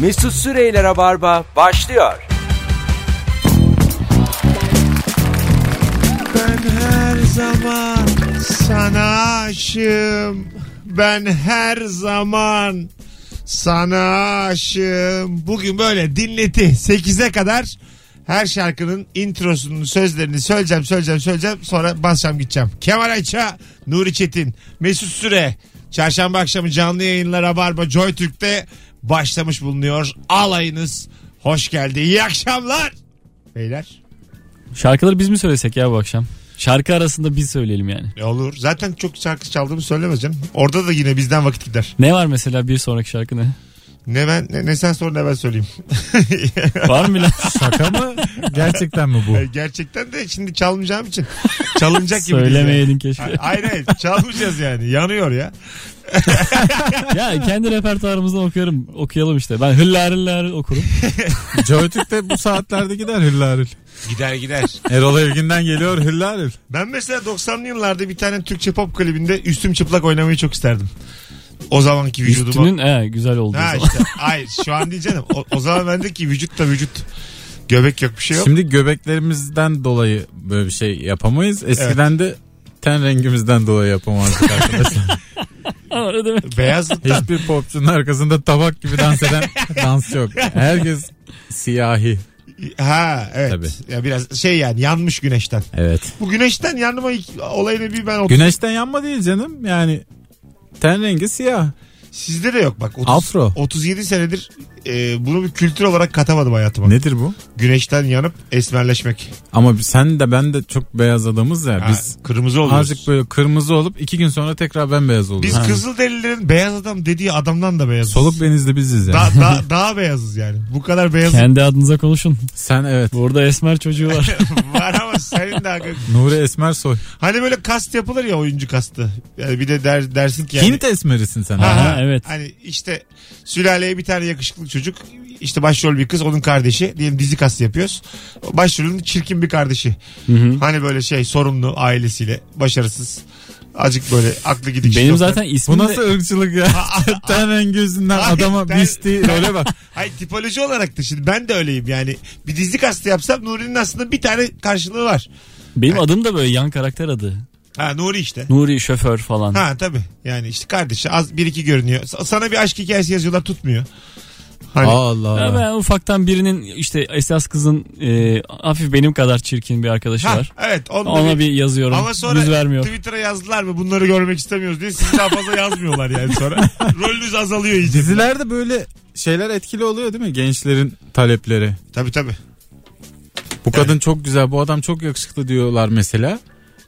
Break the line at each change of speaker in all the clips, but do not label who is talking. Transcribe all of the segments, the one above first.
Mesut Süreyle Rabarba başlıyor.
Ben her zaman sana aşığım. Ben her zaman sana aşığım. Bugün böyle dinleti 8'e kadar her şarkının introsunun sözlerini söyleyeceğim söyleyeceğim söyleyeceğim sonra basacağım gideceğim. Kemal Ayça, Nuri Çetin, Mesut Süre. Çarşamba akşamı canlı yayınla Rabarba Joy Türk'te başlamış bulunuyor. Alayınız hoş geldi. İyi akşamlar. Beyler.
Şarkıları biz mi söylesek ya bu akşam? Şarkı arasında biz söyleyelim yani.
E olur. Zaten çok şarkı çaldığımı söylemez canım. Orada da yine bizden vakit gider.
Ne var mesela bir sonraki şarkı ne?
Ne ben ne, ne sen sor ne ben söyleyeyim.
Var mı lan?
Şaka mı? Gerçekten mi bu?
E, Gerçekten de şimdi çalmayacağım için. Çalınacak gibi. değil yani.
Söylemeyeydin
A-
keşke.
Hayır hayır çalmayacağız yani. Yanıyor ya.
ya kendi repertuarımızdan okuyorum. Okuyalım işte. Ben hıllar hıllar okurum.
Joytürk'te bu saatlerde gider hüllarül.
Gider gider.
Erol Evgin'den geliyor hüllarül.
Ben mesela 90'lı yıllarda bir tane Türkçe pop klibinde üstüm çıplak oynamayı çok isterdim. O zamanki vücuduma.
Üstünün he, güzel olduğu
Ha
zaman.
işte. Hayır şu an diyeceğim. O, o zaman bende ki vücut da vücut. Göbek yok bir şey yok.
Şimdi göbeklerimizden dolayı böyle bir şey yapamayız. Eskiden de ten rengimizden dolayı yapamazdık arkadaşlar.
Ama ne demek?
Beyazlıktan.
Hiçbir popçunun arkasında tabak gibi dans eden dans yok. Herkes siyahi.
Ha evet.
Tabii.
Ya biraz şey yani yanmış güneşten.
Evet.
Bu güneşten yanma olayını bir ben otur-
Güneşten yanma değil canım. Yani ten rengi siyah.
Sizde de yok bak. 30,
Afro.
37 senedir e, bunu bir kültür olarak katamadım hayatıma.
Nedir bu?
Güneşten yanıp esmerleşmek.
Ama sen de ben de çok beyaz adamız ya.
Ha,
Biz
kırmızı oluyoruz.
azıcık böyle kırmızı olup iki gün sonra tekrar bembeyaz oluyoruz.
Biz
Ha.
Kızılderililerin beyaz adam dediği adamdan da beyazız.
Soluk benizli biziz yani.
Da, da, daha beyazız yani. Bu kadar beyaz
Kendi adınıza konuşun.
Sen evet.
Burada esmer çocuğu var.
var ama senin de hakkın-
Nuri Esmer soy.
Hani böyle kast yapılır ya oyuncu kastı. Yani bir de der, dersin ki yani.
Hint esmerisin sen.
Ha, ha.
Aha, evet.
Hani işte sülaleye bir tane yakışıklı çocuk işte başrol bir kız onun kardeşi diyelim dizi kastı yapıyoruz. Başrolün çirkin bir kardeşi. Hani böyle şey sorumlu ailesiyle başarısız. Acık böyle aklı gidik.
Benim
şizofren.
zaten
Bu
ismim de...
nasıl ırkçılık ya? ten rengi yüzünden
Ay,
adama
ten-
biçti. Öyle bak.
Hayır tipoloji olarak da şimdi ben de öyleyim yani. Bir dizi kastı yapsam Nuri'nin aslında bir tane karşılığı var.
Benim adım da böyle yan karakter adı.
Ha Nuri işte.
Nuri şoför falan.
Ha tabii yani işte kardeşi az bir iki görünüyor. Sa- Sana bir aşk hikayesi yazıyorlar tutmuyor. Hani
Allah
Ya
Allah.
ben ufaktan birinin işte esas kızın e, hafif benim kadar çirkin bir arkadaşı
ha,
Şey var.
evet onda
Ona bir yazıyorum.
Ama sonra
Yüz vermiyor.
Twitter'a yazdılar mı bunları görmek istemiyoruz diye sizi daha fazla yazmıyorlar yani sonra. Rolünüz azalıyor iyice.
Dizilerde böyle şeyler etkili oluyor değil mi? Gençlerin talepleri.
Tabii tabii.
Bu kadın çok güzel, bu adam çok yakışıklı diyorlar mesela.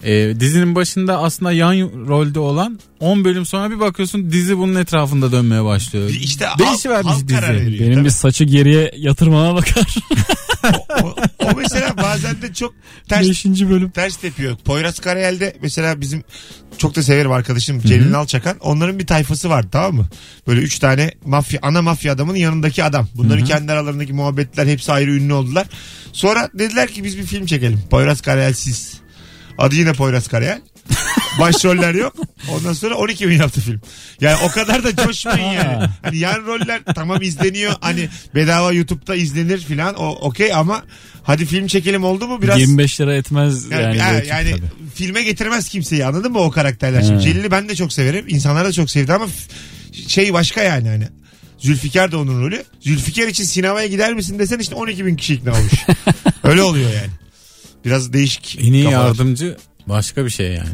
Ee, dizinin başında aslında yan rolde olan 10 bölüm sonra bir bakıyorsun dizi bunun etrafında dönmeye başlıyor.
İşte
Değişivermiş
halk, halk
dizi.
karar veriyor.
Benim bir saçı geriye yatırmama bakar.
Tabii. o, o mesela bazen de çok ters
Beşinci bölüm.
ters tepiyor. Poyraz Karayel'de mesela bizim çok da severim arkadaşım Celil Alçakan. Onların bir tayfası var tamam mı? Böyle üç tane mafya, ana mafya adamın yanındaki adam. Bunların kendi aralarındaki muhabbetler hepsi ayrı ünlü oldular. Sonra dediler ki biz bir film çekelim. Poyraz Karayel siz. Adı yine Poyraz Karayel. Başroller yok. Ondan sonra 12 bin yaptı film. Yani o kadar da coşmayın yani. Hani yan roller tamam izleniyor. Hani bedava YouTube'da izlenir filan. O okey ama hadi film çekelim oldu mu biraz
25 lira etmez yani.
yani, ha,
böyle
yani
tabii.
filme getirmez kimseyi anladın mı o karakterler. Şimdi
He.
Celil'i ben de çok severim. İnsanlar da çok sevdi ama f- şey başka yani hani. Zülfikar da onun rolü. Zülfikar için sinemaya gider misin desen işte 12 bin kişi ikna olmuş. Öyle oluyor yani. Biraz değişik.
En iyi
kafalar.
yardımcı başka bir şey yani.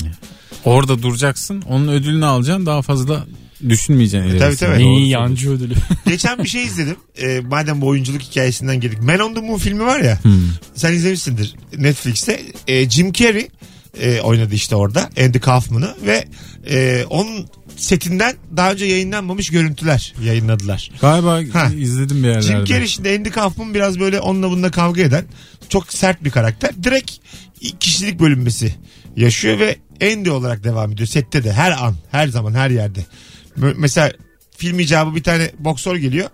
Orada duracaksın, onun ödülünü alacaksın, daha fazla düşünmeyeceksin.
E, tabii,
ilerisini.
tabii.
Doğru
İyi
söylüyorsun.
yancı ödülü.
Geçen bir şey izledim. Ee, madem bu oyunculuk hikayesinden girdik. Man on the Moon filmi var ya.
Hmm.
Sen izlemişsindir Netflix'te. Ee, Jim Carrey e, oynadı işte orada. Andy Kaufman'ı ve e, onun setinden daha önce yayınlanmamış görüntüler yayınladılar.
Galiba
Ha.
izledim bir yerlerde.
Jim Carrey şimdi Andy Kaufman biraz böyle onunla bununla kavga eden çok sert bir karakter. Direkt kişilik bölünmesi yaşıyor ve Andy olarak devam ediyor. Sette de her an, her zaman, her yerde. M- mesela film icabı bir tane boksör geliyor.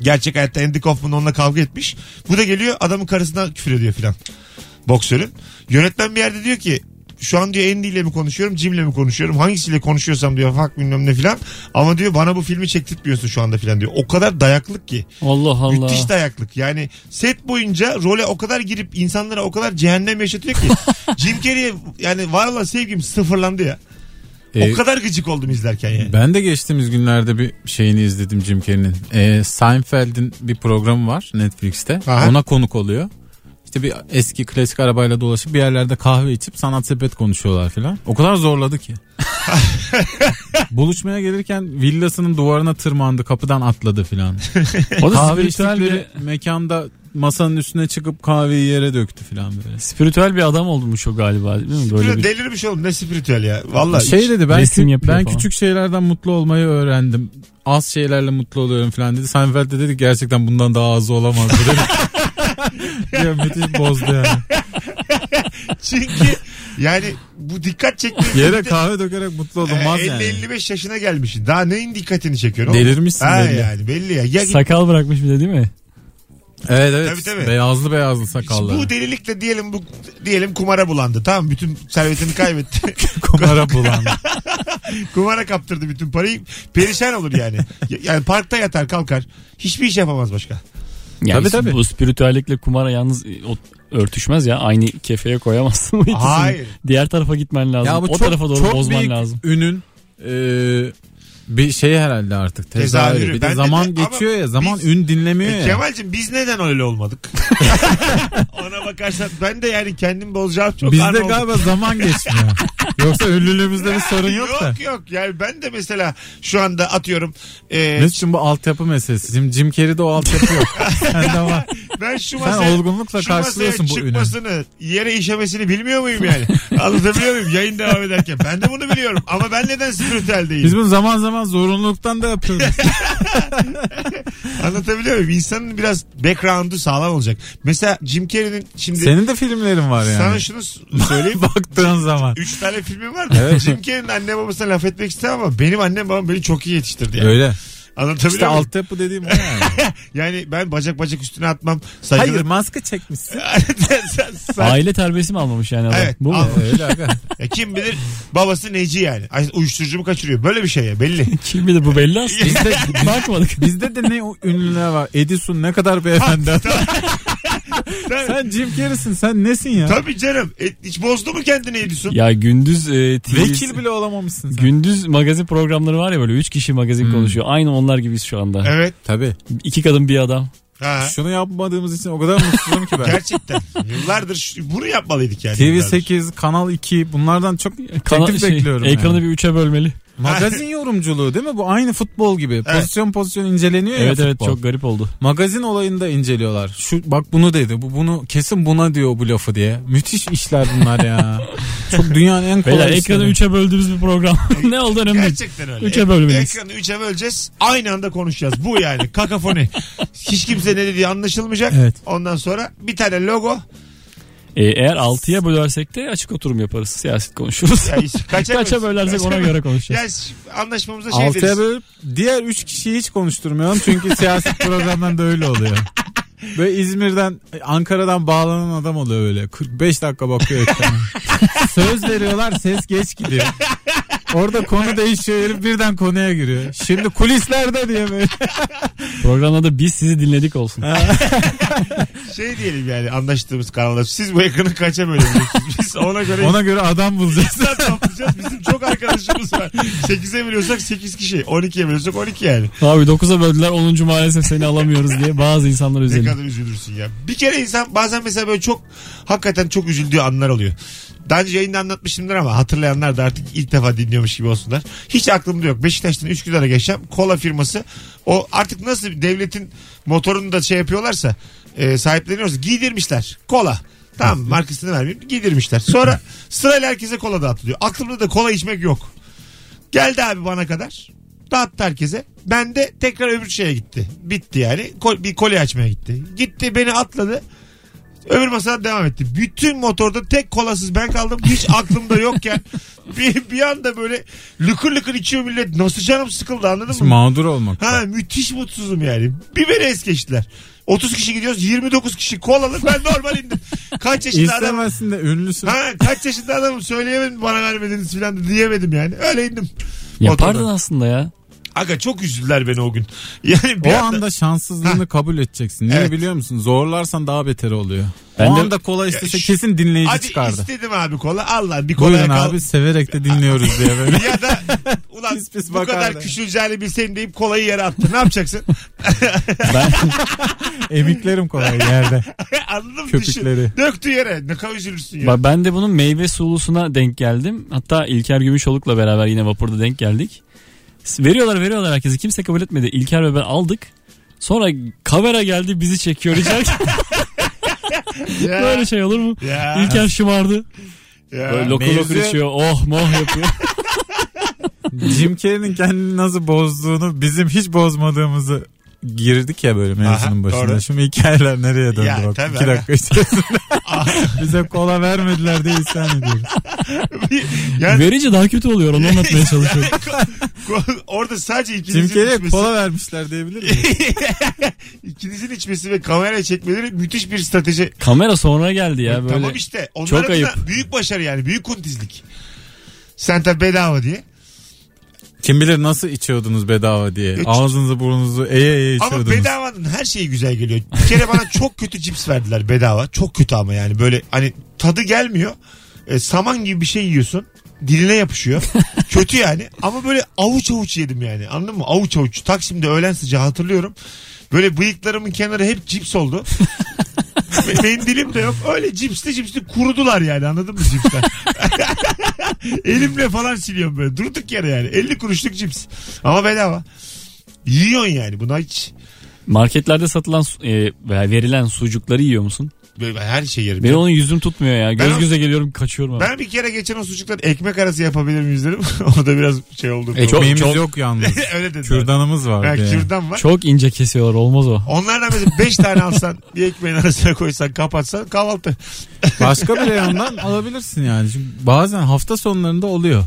Gerçek hayatta Andy Kaufman onunla kavga etmiş. Bu da geliyor adamın karısına küfür ediyor filan. Boksörün. Yönetmen bir yerde diyor ki Şu an diyor Andy ile mi konuşuyorum, Jim'le mi konuşuyorum? Hangisiyle konuşuyorsam diyor fak bilmem ne filan. Ama diyor bana bu filmi çektirtmiyorsun şu anda filan diyor. O kadar dayaklık ki.
Allah Allah.
Müthiş dayaklık. Yani set boyunca role o kadar girip insanlara o kadar cehennem yaşatıyor ki. Jim Carrey'e yani var olan sevgim sıfırlandı ya.
Ee,
o kadar gıcık oldum izlerken yani.
Ben de geçtiğimiz günlerde bir şeyini izledim Jim Carrey'nin. Ee, Seinfeld'in bir programı var Netflix'te.
Aha.
Ona konuk oluyor. İşte bir eski klasik arabayla dolaşıp bir yerlerde kahve içip sanat sepet konuşuyorlar filan. O kadar zorladı ki. Buluşmaya gelirken villasının duvarına tırmandı, kapıdan atladı filan.
O da
Kahve
spiritüel bir,
içtikleri mekanda masanın üstüne çıkıp kahveyi yere döktü filan böyle.
spiritüel bir adam olmuş o galiba değil mi? Böyle bir
Delirmiş oğlum ne spiritüel ya. Vallahi
şey dedi ben
resim
kü-
yapıyor
ben
falan.
küçük şeylerden mutlu olmayı öğrendim. Az şeylerle mutlu oluyorum falan dedi. Seinfeld de dedi ki, gerçekten bundan daha azı olamaz dedi. ya müthiş bozdu yani.
çünkü yani bu dikkat Ee, çekmiyor.
Yere kahve dökerek mutlu olunmaz yani.
50-55 yaşına gelmişsin. Daha neyin dikkatini çekiyorsun oğlum?
Delirmişsin
Ha
belli.
yani belli ya. ya
sakal bırakmış bir de değil mi?
Evet evet.
Tabii, tabii.
Beyazlı beyazlı sakallı.
bu delilikle diyelim bu diyelim kumara bulandı. Tamam bütün servetini kaybetti.
Kumara bulandı.
kumara kaptırdı bütün parayı. Perişan olur yani. Ya- Yani parkta yatar kalkar. Hiçbir iş yapamaz başka.
Yani
Tabii, tabii.
Bu spiritüellikle kumara yalnız e, o- örtüşmez ya. Aynı kefeye koyamazsın bu ikisini.
Hayır.
Diğer tarafa gitmen lazım.
ya bu
o
çok,
tarafa doğru
çok
bozman
büyük
lazım.
ünün e, bir şey herhalde artık tezahürü.
Tezahürü.
Bir
Ben
de
de-
zaman
ama
geçiyor ya. Zaman
biz-
ün dinlemiyor
E,
ya.
Kemal'cim biz neden öyle olmadık? Ona bakarsan ben de yani kendim bozacağım çok
Bizde
arma oldum.
galiba zaman geçmiyor. Yoksa ünlülüğümüzde bir sorun yok da.
Yok yok yani ben de mesela şu anda atıyorum e,
Mesut'cum bu altyapı meselesi. Şimdi Jim Carrey'de o altyapı yok. Sende var.
ben şu
Sen
masaya,
olgunlukla
şu
karşılıyorsun
masaya
bu ünü.
çıkmasını yere işemesini bilmiyor muyum yani anlatabiliyor muyum yayın devam ederken ben de bunu biliyorum ama ben neden spiritüel değilim
Biz bunu zaman zaman zorunluluktan da yapıyoruz.
anlatabiliyor muyum insanın biraz background'u sağlam olacak mesela Jim Carrey'nin şimdi
Senin de filmlerin var yani.
sana şunu s- söyleyeyim
Baktığın zaman.
Üç tane filmim var da Jim Carrey'in anne babasına laf etmek istemem ama benim annem babam beni çok iyi yetiştirdi yani.
Öyle.
Anlatabiliyor
İşte
muyum?
altyapı dediğim o yani.
Yani ben bacak bacak üstüne atmam.
Hayır
Saygılı...
maske çekmişsin.
sen, sen-
Aile terbiyesi mi almamış yani adam?
Evet,
Bu mu?
al-
Öyle aga.
Ya kim bilir babası neci yani. Ay, uyuşturucu mu kaçırıyor? Böyle bir şey ya belli.
Kim bilir bu belli aslında.
Biz de-
Bakmadık.
Bizde de ne o ünlüler var. Edison ne kadar beyefendi.
Tabii,
sen Jim Carrey'sin sen nesin ya?
tabii canım. E, hiç bozdu mu kendini Edison?
Ya gündüz e, TV
Vekil bile olamamışsın sen.
Gündüz magazin programları var ya böyle 3 kişi magazin
Hmm.
konuşuyor. Aynı onlar gibiyiz şu anda.
Evet.
Tabii.
İki kadın bir adam.
Ha.
Şunu yapmadığımız için o kadar mutsuzum ki ben.
Gerçekten. Yıllardır şu- bunu yapmalıydık yani. yıllardır.
TV8, Kanal 2 bunlardan çok
Kana-
teklif
şey,
bekliyorum.
Ekranı
yani.
bir üçe bölmeli.
Magazin yorumculuğu değil mi? Bu aynı futbol gibi.
Evet.
Pozisyon pozisyon inceleniyor
Evet
ya
evet
futbol.
çok garip oldu.
Magazin olayında inceliyorlar. Şu bak bunu dedi. Bu bunu kesin buna diyor bu lafı diye. Müthiş işler bunlar ya. çok dünyanın en kolay
Beyler
işleri.
ekranı üçe böldüğümüz bir program. ne oldu önemli değil.
Gerçekten öyle.
Üçe
E-
bölmeliyiz.
Ekranı üçe böleceğiz. Aynı anda konuşacağız. Bu yani. Kakafoni. Hiç kimse ne dediği anlaşılmayacak.
Evet.
Ondan sonra bir tane logo.
E, eğer 6'ya bölersek de açık oturum yaparız. Siyaset konuşuruz.
Yani kaça,
Kaça bölersek ona göre konuşacağız.
Yani ş- anlaşmamıza şey
Altıya
deriz.
bölüp diğer üç kişiyi hiç konuşturmuyorum. Çünkü siyaset programlarında öyle oluyor. Böyle İzmir'den, Ankara'dan bağlanan adam oluyor öyle. 45 dakika bakıyor ekrana. Söz veriyorlar ses geç gidiyor. Orada konu değişiyor herif birden konuya giriyor. Şimdi kulislerde diye böyle.
Programda da biz sizi dinledik olsun.
Şey diyelim yani anlaştığımız kanalda. Siz bu ekranı kaça bölüyorsunuz? Biz ona göre
Ona göre adam bulacağız.
insan toplayacağız. Bizim çok arkadaşımız var. 8'e bölüyorsak 8 kişi. 12'ye bölüyorsak 12 yani.
Abi 9'a böldüler 10. maalesef seni alamıyoruz diye bazı insanlar
Ne
üzülüyor.
kadar üzülürsün ya. Bir kere insan bazen mesela böyle çok hakikaten çok üzüldüğü anlar oluyor. Daha önce yayında anlatmışımdır ama hatırlayanlar da artık ilk defa dinliyormuş gibi olsunlar. Hiç aklımda yok. Beşiktaş'tan Üsküdar'a geçeceğim. Kola firması. O artık nasıl devletin motorunu da şey yapıyorlarsa e, sahipleniyorsa giydirmişler. Kola. Tamam markasını vermeyeyim. Giydirmişler. Sonra sırayla herkese kola dağıtılıyor. Aklımda da kola içmek yok. Geldi abi bana kadar. Dağıttı herkese. Ben de tekrar öbür şeye gitti. Bitti yani. Kol- bir kolye açmaya gitti. Gitti beni atladı. Öbür masada devam etti. Bütün motorda tek kolasız ben kaldım. Hiç aklımda yokken bir, bir anda böyle lıkır lıkır içiyor millet. Nasıl canım sıkıldı anladın mı?
Mağdur olmak.
Ha müthiş mutsuzum yani. Bir beni es geçtiler. 30 kişi gidiyoruz 29 kişi kolalı ben normal indim. Kaç yaşında adam
İstemezsin de ünlüsün.
Ha kaç yaşında adamım söyleyemedim bana vermediniz filan da diyemedim yani. Öyle indim.
Yapardın
Motordan.
aslında ya.
Aga çok üzüldüler beni o gün. Yani bir
O
anda-
anda şanssızlığını kabul edeceksin. Niye
Evet.
biliyor musun? Zorlarsan daha beter oluyor.
Ben
o
de-
anda kola istese
şu-
kesin dinleyici
Hadi
çıkardı.
istedim abi kola. Allah bir kola
Buyurun
kal.
abi severek de dinliyoruz diye böyle.
Ya da ulan
Pis pis
bu
bakardı.
kadar küçüleceğini bilseydim deyip kolayı yere attı. Ne yapacaksın?
Ben
Emiklerim kolay yerde.
Anladın mı?
Köpükleri.
Düşün. Döktü yere. Ne kadar üzülürsün ya.
Bak ben de bunun meyve sulusuna denk geldim. Hatta İlker Gümüşoluk'la beraber yine vapurda denk geldik. S- Veriyorlar veriyorlar herkese. Kimse kabul etmedi. İlker ve ben aldık. Sonra kamera geldi bizi çekiyor içerken.
ya,
Böyle şey olur mu?
ya,
İlker şımardı.
ya.
Böyle lokur
mevzu-
lokur içiyor. Oh moh yapıyor.
Jim Carrey'nin kendini nasıl bozduğunu bizim hiç bozmadığımızı girdik ya böyle
Aha,
mevzunun başında.
doğru.
Şimdi hikayeler nereye döndü
Ya,
bak.
tabii,
İki
aha.
dakika içerisinde. Bize kola vermediler diye isyan ediyoruz.
yani
Verince daha kötü oluyor. Onu anlatmaya çalışıyorum.
ko- orada sadece ikinizin
Jim Carrey'e
içmesi,
kola vermişler diyebilir miyim?
ikinizin içmesi ve kameraya çekmeleri müthiş bir strateji.
Kamera sonra geldi ya böyle.
E, Tamam işte. Onlar
Çok
adına
ayıp.
büyük başarı yani. Büyük kuntizlik. Sen tabi bedava diye.
Kim bilir nasıl içiyordunuz bedava diye.
Üç.
Ağzınızı burnunuzu eye eye
Ama
içiyordunuz.
bedavanın her şeyi güzel geliyor. Bir kere bana çok kötü cips verdiler bedava. Çok kötü ama yani böyle hani tadı gelmiyor. E, saman gibi bir şey yiyorsun. Diline yapışıyor. kötü yani. Ama böyle avuç avuç yedim yani. Anladın mı? Avuç avuç. Taksim'de öğlen sıcağı hatırlıyorum. Böyle bıyıklarımın kenarı hep cips oldu. Ve Mendilim de yok. Öyle cipsli cipsli kurudular yani anladın mı cipsler? Elimle falan siliyorum böyle. Durduk yere yani. 50 kuruşluk cips. Ama bedava. Yiyorsun yani. Buna hiç
Marketlerde satılan su- e, veya verilen sucukları yiyor musun?
Böyle ben her şey yerim.
Benim
Ya.
onun yüzüm tutmuyor ya.
o-
Göz göze geliyorum kaçıyorum. abi.
Ben bir kere geçen o sucuktan ekmek arası yapabilir miyiz dedim. o da biraz şey oldu.
E, çok-
Ekmeğimiz yok yalnız.
Öyle dedi.
Kürdanımız var.
Ha,
diye.
kürdan var.
Çok ince kesiyorlar olmaz o.
Onlardan mesela 5 tane alsan bir ekmeğin arasına koysan kapatsan kahvaltı.
Başka bir reyondan alabilirsin yani. Çünkü bazen hafta sonlarında oluyor.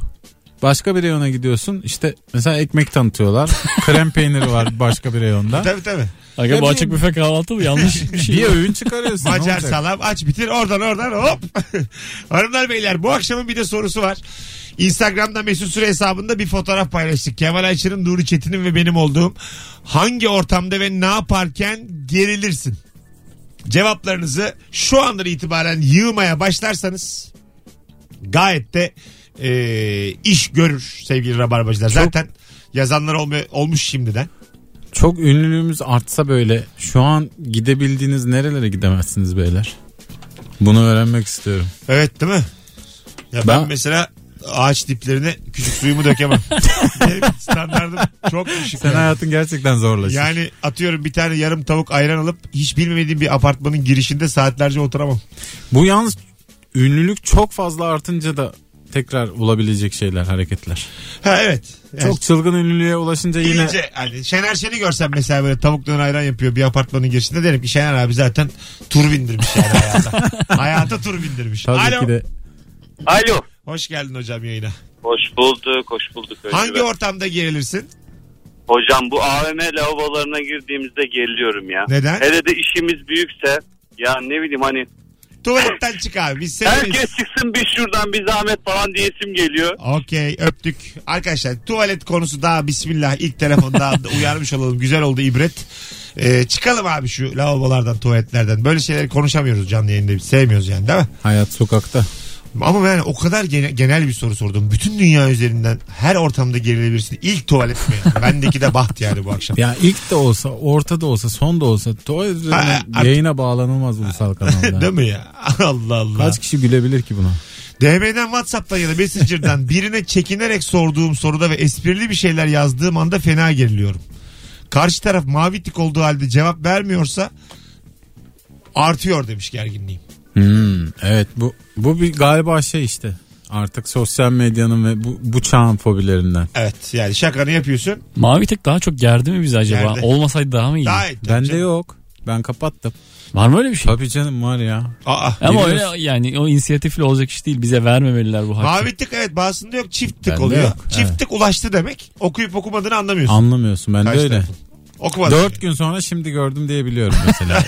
Başka bir reyona gidiyorsun işte mesela ekmek tanıtıyorlar. Krem peyniri var başka bir reyonda.
Tabii tabii.
Aga
Ya
bu
bir-
açık büfe kahvaltı mı? Yanlış bir şey.
Bir öğün çıkarıyorsun. ne
Macar
olacak?
salam aç bitir oradan oradan hop. Hanımlar beyler bu akşamın bir de sorusu var. Instagram'da Mesut Süre hesabında bir fotoğraf paylaştık. Kemal Ayçır'ın, Nuri Çetin'in ve benim olduğum hangi ortamda ve ne yaparken gerilirsin? Cevaplarınızı şu andan itibaren yığmaya başlarsanız gayet de e, iş görür sevgili rabarbacılar. Zaten yazanlar olma- olmuş şimdiden.
Çok ünlülüğümüz artsa böyle şu an gidebildiğiniz nerelere gidemezsiniz beyler? Bunu öğrenmek istiyorum.
Evet değil mi? Ya ben,
Ben-
mesela ağaç diplerine küçük suyumu dökemem. Benim Standartım çok düşük.
Sen
yani.
hayatın gerçekten zorlaşır.
Yani atıyorum bir tane yarım tavuk ayran alıp hiç bilmediğim bir apartmanın girişinde saatlerce oturamam.
Bu yalnız ünlülük çok fazla artınca da tekrar olabilecek şeyler hareketler.
Ha evet. Yani
Çok çılgın ünlülüğe ulaşınca yine
iyice hani Şener Şen'i görsem mesela böyle tavuk döner ayran yapıyor bir apartmanın girişinde derim ki Şener abi zaten tur bindirmiş yani hayata. hayata tur bindirmiş.
tabii
Alo.
ki de
Alo.
Hoş geldin hocam yayına.
Hoş bulduk, hoş bulduk. Öyle
Hangi
ben-
ortamda gerilirsin?
Hocam bu AVM lavabolarına girdiğimizde geriliyorum ya.
Neden?
Hele de işimiz büyükse ya ne bileyim hani
Tuvaletten çık abi. Biz sevemeyiz.
herkes çıksın bir şuradan bir zahmet falan diyesim geliyor.
Okey öptük. Arkadaşlar tuvalet konusu daha bismillah ilk telefonda uyarmış olalım. Güzel oldu ibret. Ee, çıkalım abi şu lavabolardan tuvaletlerden. Böyle şeyleri konuşamıyoruz canlı yayında. Sevmiyoruz yani değil mi?
hayat sokakta.
Ama yani o kadar gene- genel bir soru sordum. Bütün dünya üzerinden her ortamda gerilebilirsin. İlk tuvalet mi? yani? Bendeki de baht yani bu akşam.
Ya ilk de olsa, orta da olsa, son da olsa tuvalet üzerine
Ha, artık-
yayına bağlanılmaz ulusal kanalda.
Değil mi ya? Allah Allah.
Kaç kişi gülebilir ki buna?
DM'den Whatsapp'tan ya da Messenger'dan birine çekinerek sorduğum soruda ve esprili bir şeyler yazdığım anda fena geriliyorum. Karşı taraf mavi tik olduğu halde cevap vermiyorsa artıyor demiş gerginliğim.
Hmm, evet bu bu bir galiba şey işte. Artık sosyal medyanın ve bu, bu çağın fobilerinden.
Evet yani şakanı yapıyorsun.
Mavi tek daha çok gerdi mi bizi acaba?
Gerdi.
Olmasaydı daha mı iyi?
Daha iyi.
Bende yok. Ben kapattım.
Var mı öyle bir şey?
Tabii canım var ya.
Aa,
Ama
Biliyorsun.
öyle yani o inisiyatifle olacak iş değil. Bize vermemeliler bu hakkı.
mavi tik evet bazısında yok çift tık
Bende
oluyor.
yok,
Çift
evet.
tık ulaştı demek okuyup okumadığını anlamıyorsun.
Anlamıyorsun ben de
Karşı
öyle.
tarafın. Okumadım.
Dört gün sonra şimdi gördüm diye biliyorum mesela.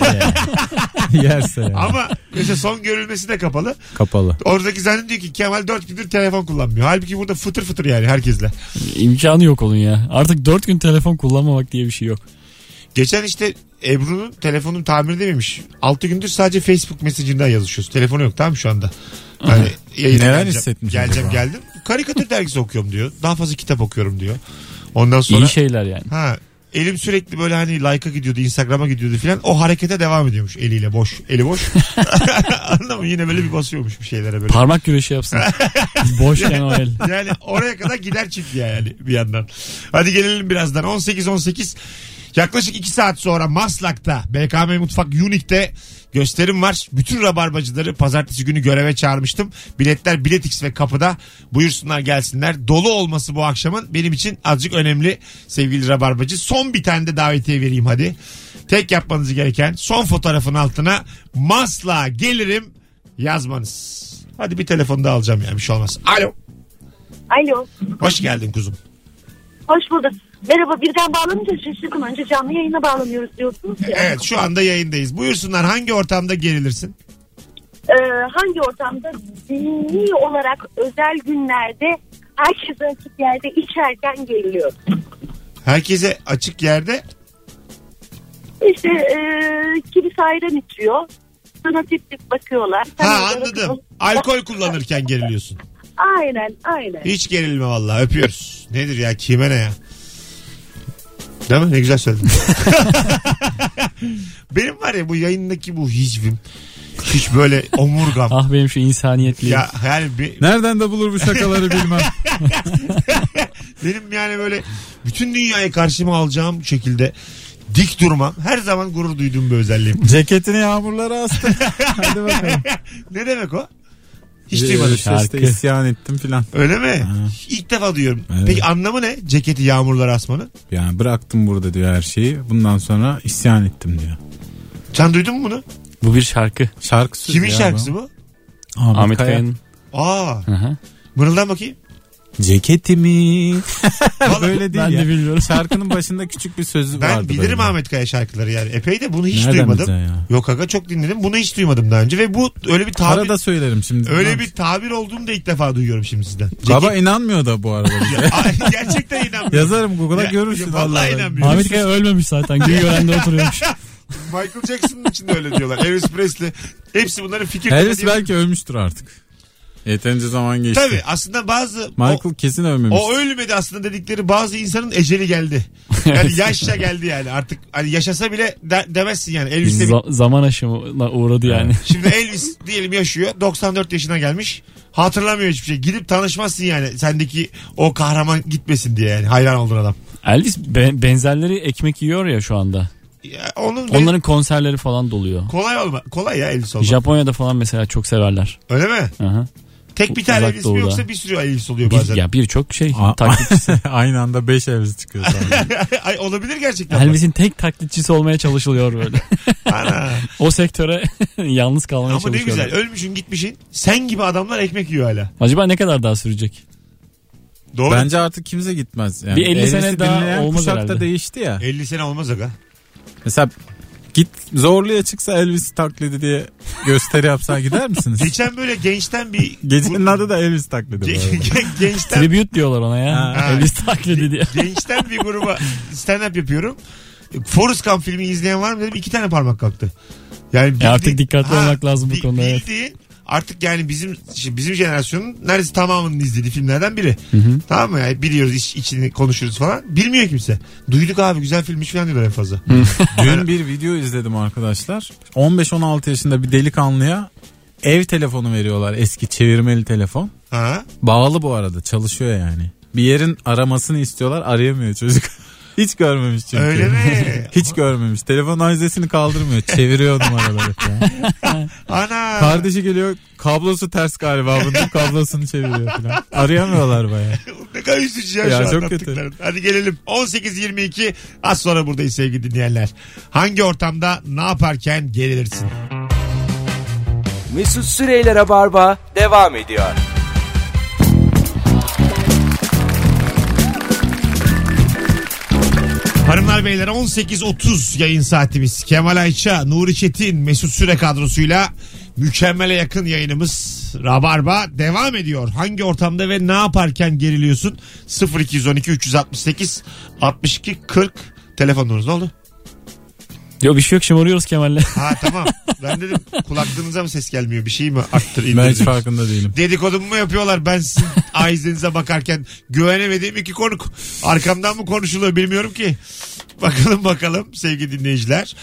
Yerse yani.
Ama mesela son görülmesi de kapalı.
kapalı.
Oradaki zannediyor ki Kemal 4 gündür telefon kullanmıyor. Halbuki burada fıtır fıtır yani herkesle.
İmkanı yok onun ya. Artık 4 gün telefon kullanmamak diye bir şey yok.
Geçen işte Ebru'nun telefonum tamir dememiş. 6 gündür sadece Facebook mesajından yazışıyoruz. Telefonu yok tamam mı şu anda? Yani yayına
Neler
geleceğim,
hissetmiş
Geleceğim
acaba?
geldim. Karikatür dergisi okuyorum diyor. Daha fazla kitap okuyorum diyor. Ondan sonra
şey.
İyi şeyler yani.
ha, elim sürekli böyle hani like'a gidiyordu, Instagram'a gidiyordu filan. O harekete devam ediyormuş eliyle boş. Eli boş. Anladın mı? Yine böyle bir basıyormuş bir şeylere böyle.
Parmak güreşi yapsın. Boşken o el.
Yani oraya kadar gider çünkü yani bir yandan. Hadi gelelim birazdan. 18-18 yaklaşık 2 saat sonra Maslak'ta BKM Mutfak Unique'de gösterim var. Bütün rabarbacıları pazartesi günü göreve çağırmıştım. Biletler Biletix ve kapıda buyursunlar gelsinler. Dolu olması bu akşamın benim için azıcık önemli sevgili rabarbacı. Son bir tane de davetiye vereyim hadi. Tek yapmanız gereken son fotoğrafın altına Maslak'a gelirim yazmanız. Hadi bir telefon daha alacağım ya bir şey olmaz. Alo.
Alo.
Hoş geldin kuzum.
Hoş bulduk. Merhaba birden bağlanınca şaşırdım. Önce canlı yayına bağlanıyoruz diyorsunuz ya.
Evet şu anda yayındayız. Buyursunlar hangi ortamda gerilirsin?
Ee, hangi ortamda dini olarak özel günlerde herkese açık yerde içerken geliyor.
Herkese açık yerde
İşte ee, kimisi ayran içiyor. Sana tip tip bakıyorlar. Sen
ha
onlara
anladım.
kızıl-
Alkol kullanırken geriliyorsun.
Aynen aynen.
Hiç gerilme vallahi öpüyoruz. Nedir ya kime ne ya? Değil mi? Ne güzel söyledin. Benim var ya bu yayındaki bu hicvim. Hiç böyle omurgam.
Ah benim şu insaniyetliğim.
ya yani bir-
Nereden de bulur bu şakaları bilmem.
benim yani böyle bütün dünyayı karşıma alacağım şekilde dik durmam. Her zaman gurur duyduğum bir özelliğim.
Ceketini yağmurlara astı. Hadi bakalım.
Ne demek o? Hiç
Ee,
duymadım.
İşte, işte
Şarkı.
isyan ettim filan.
Öyle mi? İlk defa duyuyorum.
Evet.
Peki anlamı ne? Ceketi yağmurlara asmanın.
Yani bıraktım burada diyor her şeyi. Bundan sonra isyan ettim diyor.
Sen duydun mu bunu?
Bu bir şarkı.
Şarkısı
Kimin
ya
şarkısı bu?
bu. Ahmet,
Ahmet
Kaya.
Kaya'nın.
Aa,
Hı hı.
mırıldan bakayım.
Ceketimi.
Vallahi
Böyle değil
Ben
ya.
de bilmiyorum.
Şarkının başında küçük bir sözü
ben
vardı.
bilirim
böyle.
Ahmet Kaya şarkıları yani. Epey de bunu hiç
Nereden
duymadım.
bileceksin ya?
Yok aga çok dinledim. Bunu hiç duymadım daha önce ve bu öyle bir tabir
Arada söylerim şimdi.
öyle bir tabir olduğunu da ilk defa duyuyorum şimdi sizden. Ceket-
Baba inanmıyor da bu arada. bize.
Ay, gerçekten inanmıyorum.
Yazarım Google'a
Ya-
görürsün.
ya vallahi inanmıyorum.
Ahmet Kaya ölmemiş zaten. Gülgören'de oturuyormuş.
Michael Jackson'ın için de öyle diyorlar. Elvis Presley. Hepsi bunların fikir.
Elvis belki ölmüştür artık. Yeterince zaman geçti.
Tabii aslında bazı
Michael
o-
kesin ölmemiş.
O ölmedi aslında dedikleri bazı insanın eceli geldi. Yani yaşça geldi yani artık hani yaşasa bile de- demezsin yani Elvis'te bir...
Za- zaman aşımına uğradı yani.
Şimdi Elvis diyelim yaşıyor 94 yaşına gelmiş hatırlamıyor hiçbir şey gidip tanışmazsın yani sendeki o kahraman gitmesin diye yani hayran olduğun adam.
Elvis be- benzerleri ekmek yiyor ya şu anda.
Ya onun Onların...
Onların konserleri falan doluyor.
kolay olma kolay ya Elvis olmak.
Japonya'da falan mesela çok severler.
Öyle mi?
Aha.
Tek bir tane
Uzak
Elvis mi
Doğu'da.
yoksa bir sürü Elvis oluyor
Bir,
bazen.
ya birçok şey
Aa.
taklitçisi.
Aynı anda 5 Elvis çıkıyor. sonra.
Ay olabilir gerçekten. bak.
Elvis'in tek taklitçisi olmaya çalışılıyor böyle.
Ana.
o sektöre yalnız kalmaya
Ama ne
çalışıyorlar.
güzel ölmüşün gitmişin sen gibi adamlar ekmek yiyor hala.
Acaba ne kadar daha sürecek?
Doğru.
Bence artık kimse gitmez. Yani
Bir 50 sene
Elvis'i
daha
dinleyen
olmaz
kuşak da
herhalde. E-
değişti ya.
50 sene olmaz aga.
Mesela git zorluya çıksa Elvis taklidi diye gösteri yapsa gider misiniz?
Geçen böyle gençten bir...
Gecenin adı da Elvis taklidi. bu arada.
Ge- ge- gençten,
Tribute diyorlar ona ya.
Ha.
Elvis taklidi diye.
gençten bir gruba stand-up yapıyorum. Forrest Gump filmi izleyen var mı dedim. iki tane parmak kalktı. Yani bildiğin-
artık dikkatli olmak lazım bu
bi-
konuda, evet.
bildiğin artık yani bizim şimdi bizim jenerasyonun neredeyse tamamının izlediği filmlerden biri. Tamam mı? Yani biliyoruz iç, içini konuşuruz falan. Bilmiyor kimse. Duyduk abi güzel filmmiş falan diyorlar en fazla.
Dün bir video izledim arkadaşlar. 15-16 yaşında bir delikanlıya ev telefonu veriyorlar. Eski çevirmeli telefon.
ha?
Bağlı bu arada çalışıyor yani. Bir yerin aramasını istiyorlar arayamıyor çocuk. Hiç görmemiş çünkü.
Öyle mi?
Hiç görmemiş. Telefon aizesini kaldırmıyor. Çeviriyor numaraları. falan.
Ana.
Kardeşi geliyor kablosu ters galiba bunun kablosunu çeviriyor falan. Arayamıyorlar baya.
ne kadar üzücü ya,
Ya
şu
çok
anlattıkların. Hadi gelelim 18-22 az sonra buradayız sevgili dinleyenler. Hangi ortamda ne yaparken gerilirsin?
Mesut Süreyler'e barba devam ediyor.
Hanımlar beyler 18.30 yayın saatimiz. Kemal Ayça, Nuri Çetin, Mesut Süre kadrosuyla mükemmele yakın yayınımız Rabarba devam ediyor. Hangi ortamda ve ne yaparken geriliyorsun? 0212 368 62 40 telefonunuz ne oldu?
Yok bir şey yok şımarıyoruz Kemal'le.
Ha tamam. Ben dedim kulaklığınıza mı ses gelmiyor? Bir şey mi arttır
Ben hiç
indir.
farkında değilim.
Dedikodumu mu yapıyorlar? Ben sizin ağzınıza bakarken güvenemediğim iki konuk. Arkamdan mı konuşuluyor bilmiyorum ki. Bakalım bakalım sevgili dinleyiciler.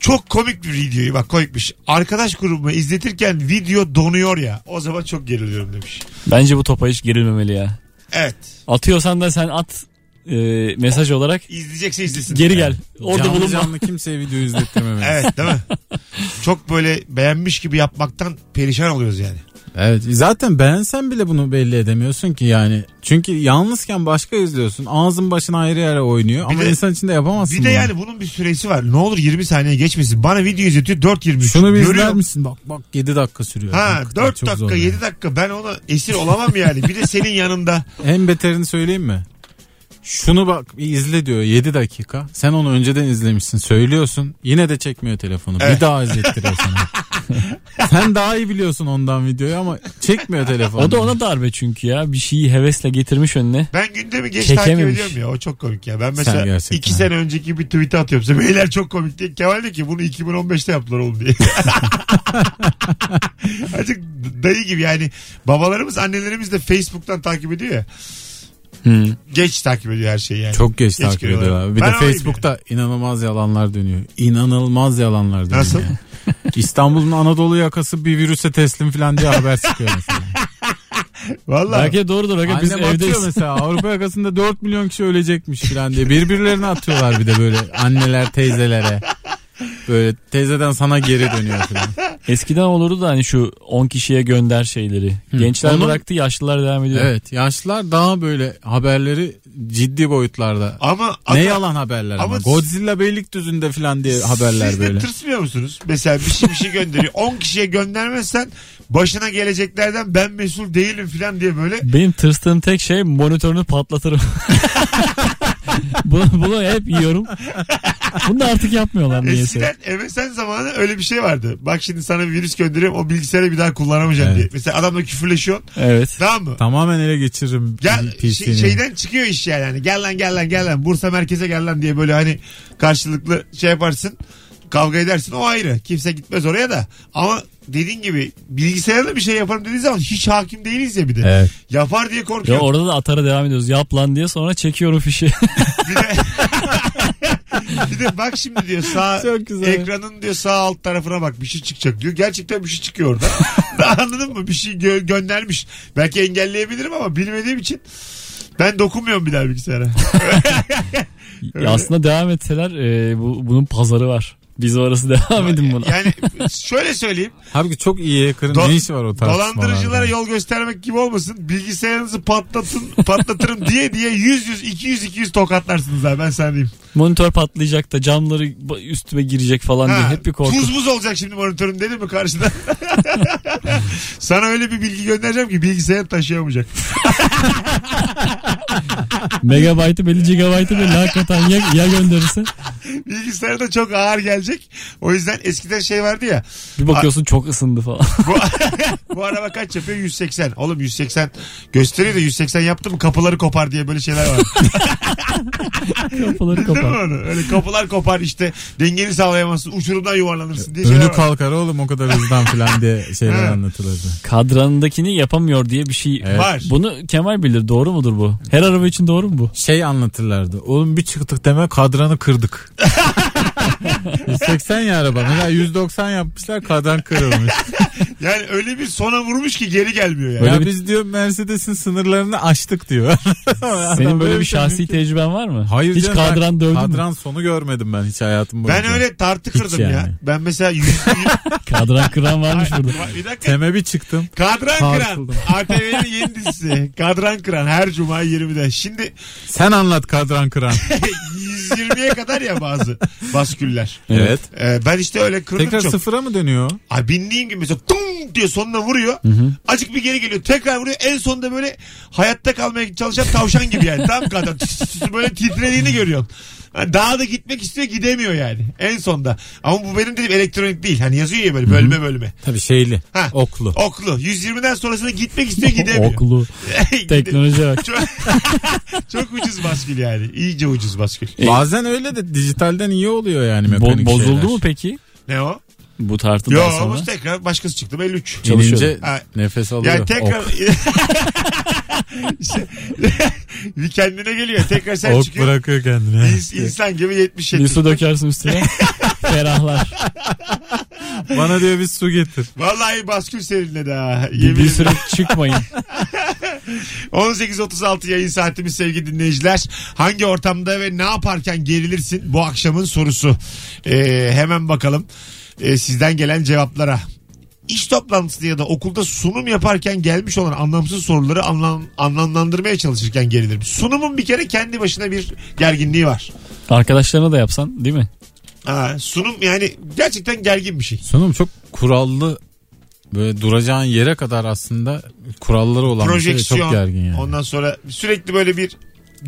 Çok komik bir videoyu bak komikmiş. Arkadaş grubuma izletirken video donuyor ya. O zaman çok geriliyorum demiş.
Bence bu topa hiç girilmemeli ya.
Evet.
Atıyorsan da sen at e, mesaj olarak
İzleyecekse izlesin.
geri gel. Orada
canlı
bulunma.
canlı kimseye video izlettirmemeli. evet.
Evet değil mi? Çok böyle beğenmiş gibi yapmaktan perişan oluyoruz yani.
Zaten beğensen bile bunu belli edemiyorsun ki yani. Çünkü yalnızken başka izliyorsun. Ağzın başın ayrı yere oynuyor.
Bir
ama
de-
insan içinde yapamazsın
Bir de
bunu.
yani bunun bir süresi var. Ne olur 20 saniye geçmesin. Bana video izletiyor 4.23.
Şunu bir izler
Görüyorum.
misin? Bak bak 7 dakika sürüyor.
Ha
Hakikaten
4
çok zor
dakika
yani.
7 dakika ben ona esir olamam yani. Bir de senin yanında.
En beterini söyleyeyim mi? Şunu bak bir izle diyor 7 dakika. Sen onu önceden izlemişsin söylüyorsun. Yine de çekmiyor telefonu.
Evet.
Bir daha izlettiriyor sana. Sen daha iyi biliyorsun ondan videoyu ama çekmiyor telefonu.
O da ona darbe çünkü ya. Bir şeyi hevesle getirmiş önüne.
Ben gündemi geç takip
Çekememiş.
ediyorum ya. O çok komik ya. Ben
Sen
mesela
gerçekten.
2 sene önceki bir tweet atıyorum. size. Beyler çok komik diye. Kemal diyor ki bunu 2015'te yaptılar oğlum diye. Azıcık dayı gibi yani. Babalarımız annelerimiz de Facebook'tan takip ediyor ya. Geç takip ediyor her şeyi yani.
Çok geç,
Geç
takip
giriyorlar.
ediyor abi. Bir
Ben
de
öyleyim
Facebook'ta inanılmaz yalanlar dönüyor. İnanılmaz yalanlar dönüyor.
Nasıl?
ya. İstanbul'un Anadolu yakası bir virüse teslim falan diye haber çıkıyor mesela.
Vallahi.
Belki de doğrudur. Aga, biz
Annem atıyor
evdeyiz.
mesela Avrupa yakasında 4 milyon kişi ölecekmiş falan diye. Birbirlerine atıyorlar bir de böyle anneler teyzelere. Böyle teyzeden sana geri dönüyor falan.
Eskiden olurdu da hani şu 10 kişiye gönder şeyleri. Gençler
Onun-
bıraktı yaşlılar devam ediyor.
Evet yaşlılar daha böyle haberleri ciddi boyutlarda.
Ama
ne yalan haberler ama.
Ama-
Godzilla Beylikdüzü'nde falan diye haberler
Siz
böyle.
de tırsmıyor musunuz? Mesela bir şey bir şey gönderiyor. 10 kişiye göndermezsen başına geleceklerden ben mesul değilim falan diye böyle
Benim tırstığım tek şey monitörünü patlatırım. bunu, bunu hep yiyorum. Bunu da artık yapmıyorlar niyeyse.
Eskiden MSN zamanı öyle bir şey vardı. Bak şimdi sana bir virüs gönderiyorum o bilgisayarı bir daha kullanamayacağım diye.
Evet.
Mesela adamla küfürleşiyorsun.
Evet.
Tamam mı?
Tamamen ele geçiririm
Gel
PC'ni.
şey- şeyden çıkıyor iş yani. Hani Gel lan gel lan gel lan Bursa merkeze gel lan diye böyle hani karşılıklı şey yaparsın. Kavga edersin o ayrı. Kimse gitmez oraya da. Ama dediğin gibi bilgisayarda bir şey yaparım dediği zaman hiç hakim değiliz ya bir de.
Evet.
Yapar diye
Ya
korkuyorum.
orada da atara devam ediyoruz. Yap lan diye sonra çekiyorum fişi.
Bir de, bir de bak şimdi diyor sağ
Çok güzel.
ekranın diyor sağ alt tarafına bak bir şey çıkacak diyor. Gerçekten bir şey çıkıyor orada. Daha Anladın mı? Bir şey gö- göndermiş. Belki engelleyebilirim ama bilmediğim için ben dokunmuyorum bir daha bilgisayara. Öyle.
Ya aslında devam etseler e, bu, bunun pazarı var. Biz orası devam edin buna.
Yani şöyle söyleyeyim.
Halbuki çok iyi hacker'ın
Do-
ne işi var o tartışmalarda?
Dolandırıcılara yol göstermek gibi olmasın. Bilgisayarınızı patlatın, patlatırım diye diye 100 100 200 200 tokatlarsınız abi ben sana diyeyim.
Monitör patlayacak da camları ba- üstüme girecek falan diye
Ha,
Hani hep bir korku.
Tuz buz olacak şimdi monitörün dedim mi karşıda? Sana öyle bir bilgi göndereceğim ki bilgisayar taşıyamayacak.
Megabaytı belli gigabaytı belli hakikaten ya, ya gönderirse.
Bilgisayar da çok ağır gelecek. O yüzden eskiden şey vardı ya.
Bir bakıyorsun çok ısındı falan.
Bu, bu araba kaç yapıyor? 180. Oğlum 180 gösteriyor da 180 yaptı mı kapıları kopar diye böyle şeyler var.
Kapıları
Değil mi
kapat.
onu? Öyle kapılar kopar işte dengeni sağlayamazsın uçurumdan yuvarlanırsın diye şeyler
Önü
şey var.
kalkar oğlum o kadar hızdan falan diye şeyler
Evet.
anlatılırdı.
Kadranındakini yapamıyor diye bir şey.
Evet.
Var.
Bunu Kemal bilir doğru mudur bu? Her araba için doğru mu bu?
Şey anlatırlardı. Oğlum bir çıktık deme kadranı kırdık. 180 ya araba. Mesela 190 yapmışlar kadran kırılmış.
Yani öyle bir sona vurmuş ki geri gelmiyor yani.
Böyle
ya
bir-
biz diyor Mercedes'in sınırlarını aştık diyor. Adam
Senin böyle bir
şey
şahsi
mümkün-
tecrüben var mı?
Hayır
Hiç
canım,
kadran
ben-
dövdün mü?
Kadran sonu görmedim ben hiç hayatım boyunca.
Ben öyle tartı kırdım ya.
yani.
Ben mesela yüz,
Kadran kıran varmış burada.
bir dakika
Teme bir çıktım.
Kadran Kıran.
Sarsıldım.
ATV'nin yeni dizisi. Kadran Kıran her cuma 20'de. Şimdi
Sen anlat kadran kıran.
yüz- 120'ye kadar ya bazı basküller.
Evet.
Ee, ben işte öyle kırdım
Tekrar
çok.
sıfıra mı dönüyor?
Ay bindiğim gibi mesela tung diye sonuna vuruyor. Acık bir geri geliyor. Tekrar vuruyor. En sonunda böyle hayatta kalmaya çalışan tavşan gibi yani. Tam kadar tıs tıs tıs böyle titrediğini görüyorsun. Hani Daha da gitmek istiyor gidemiyor yani. En sonda. Ama bu benim dediğim elektronik değil. Hani yazıyor ya böyle bölme bölme.
Tabii şeyli.
Ha.
Oklu.
Oklu. 120'den sonrasında gitmek istiyor gidemiyor.
Oklu.
Gide-
Teknolojiye bak.
Çok, çok ucuz baskül yani. İyice ucuz baskül.
E, Bazen öyle de dijitalden iyi oluyor yani
Bo-
mekanik
bozuldu
şeyler.
mu peki?
Ne o?
Bu tartıdan
Yo
sonra.
ama tekrar başkası çıktı. 53.
İnince
Ha.
nefes alıyor.
Yani tekrar...
Ok.
İşte- bir kendine geliyor. Tekrar sen
Ok
çıkıyorsun.
bırakıyor kendine.
İns- İnsan gibi 77.
Bir su dökersin üstüne. Ferahlar.
Bana diyor bir su getir.
Vallahi baskül serinledi ha.
Bir, bir
Yemin
süre
ederim.
çıkmayın.
18.36 yayın saatimiz sevgili dinleyiciler. Hangi ortamda ve ne yaparken gerilirsin bu akşamın sorusu. Ee, hemen bakalım ee, sizden gelen cevaplara. İş toplantısı ya da okulda sunum yaparken gelmiş olan anlamsız soruları anlam, anlamlandırmaya çalışırken gerilirim. Sunumun bir kere kendi başına bir gerginliği var.
Arkadaşlarına da yapsan değil mi?
Ha, sunum yani gerçekten gergin bir şey.
Sanırım çok kurallı böyle duracağın yere kadar aslında kuralları olan bir şey ve
projeksiyon.
çok gergin yani.
Ondan sonra sürekli böyle bir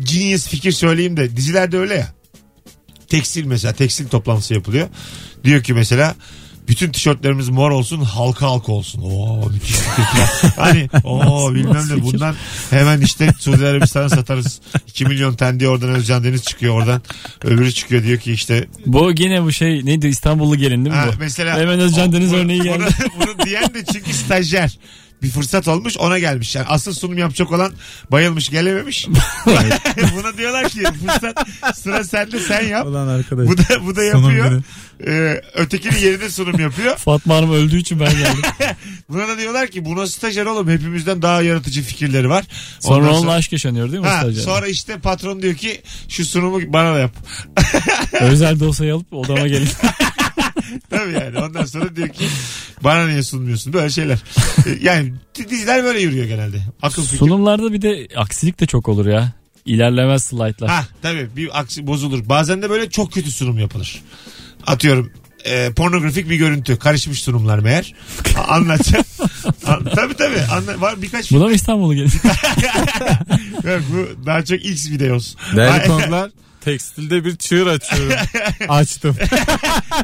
genius fikir söyleyeyim de dizilerde öyle ya. Tekstil mesela tekstil toplantısı yapılıyor. Diyor ki mesela bütün tişörtlerimiz mor olsun halka halka olsun. Oo müthiş fikir. falan. hani o bilmem
nasıl
ne
fikir?
bundan hemen işte Suudi Arabistan'a satarız. 2 milyon ten diye oradan Özcan Deniz çıkıyor oradan. Öbürü çıkıyor diyor ki işte
Bu yine bu şey neydi İstanbullu gelin değil mi
Ha,
bu?
mesela
Hemen Özcan
o-
Deniz
bunu-
örneği geldi.
Bunu, bunu diyen de çünkü stajyer. Bir fırsat olmuş ona gelmiş. Yani asıl sunum yapacak olan bayılmış gelememiş. Buna diyorlar ki fırsat sıra sende sen yap.
Ulan arkadaş.
Bu da, bu da
Sunum
yapıyor. Ee, ötekinin yerine sunum yapıyor.
Fatma Hanım öldüğü için ben geldim.
Buna da diyorlar ki buna stajyer oğlum hepimizden daha yaratıcı fikirleri var.
Sonra
Ondan
onunla aşk yaşanıyor değil mi?
Ha,
stajyer?
sonra işte patron diyor ki şu sunumu bana da yap.
Özel dosyayı alıp odama gelin.
Tabii yani. Ondan sonra diyor ki bana niye sunmuyorsun? Böyle şeyler. Ee, Yani diziler böyle yürüyor genelde. Akıl fikir.
Sunumlarda bir de aksilik de çok olur ya. İlerlemez slaytlar.
Ha tabii bir aksi bozulur. Bazen de böyle çok kötü sunum yapılır. Atıyorum e, pornografik bir görüntü. Karışmış sunumlar meğer. A- Anlatacağım. An, tabii tabii. Anla, var birkaç
Bu da mı İstanbul'u gelin?
Yok, bu daha çok X videos.
Değerli
Ay-
konuklar tekstilde bir çığır açıyorum. Açtım.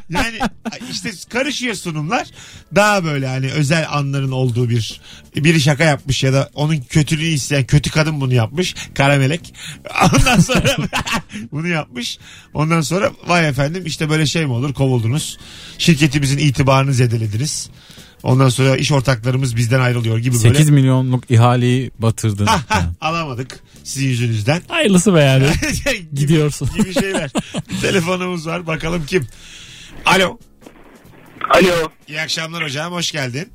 Yani işte karışıyor sunumlar. Daha böyle hani özel anların olduğu bir biri şaka yapmış ya da onun kötülüğü isteyen kötü kadın bunu yapmış. Karamelek. Ondan sonra bunu yapmış. Ondan sonra vay efendim işte böyle şey mi olur kovuldunuz. Şirketimizin itibarını zedelediniz. Ondan sonra iş ortaklarımız bizden ayrılıyor gibi böyle.
8 milyonluk ihaleyi batırdın.
Ha, ha, alamadık sizin yüzünüzden.
Hayırlısı be yani.
Gibi-
Gidiyorsun.
Gibi şeyler. Telefonumuz var bakalım kim. Alo.
Alo.
İyi akşamlar hocam hoş geldin.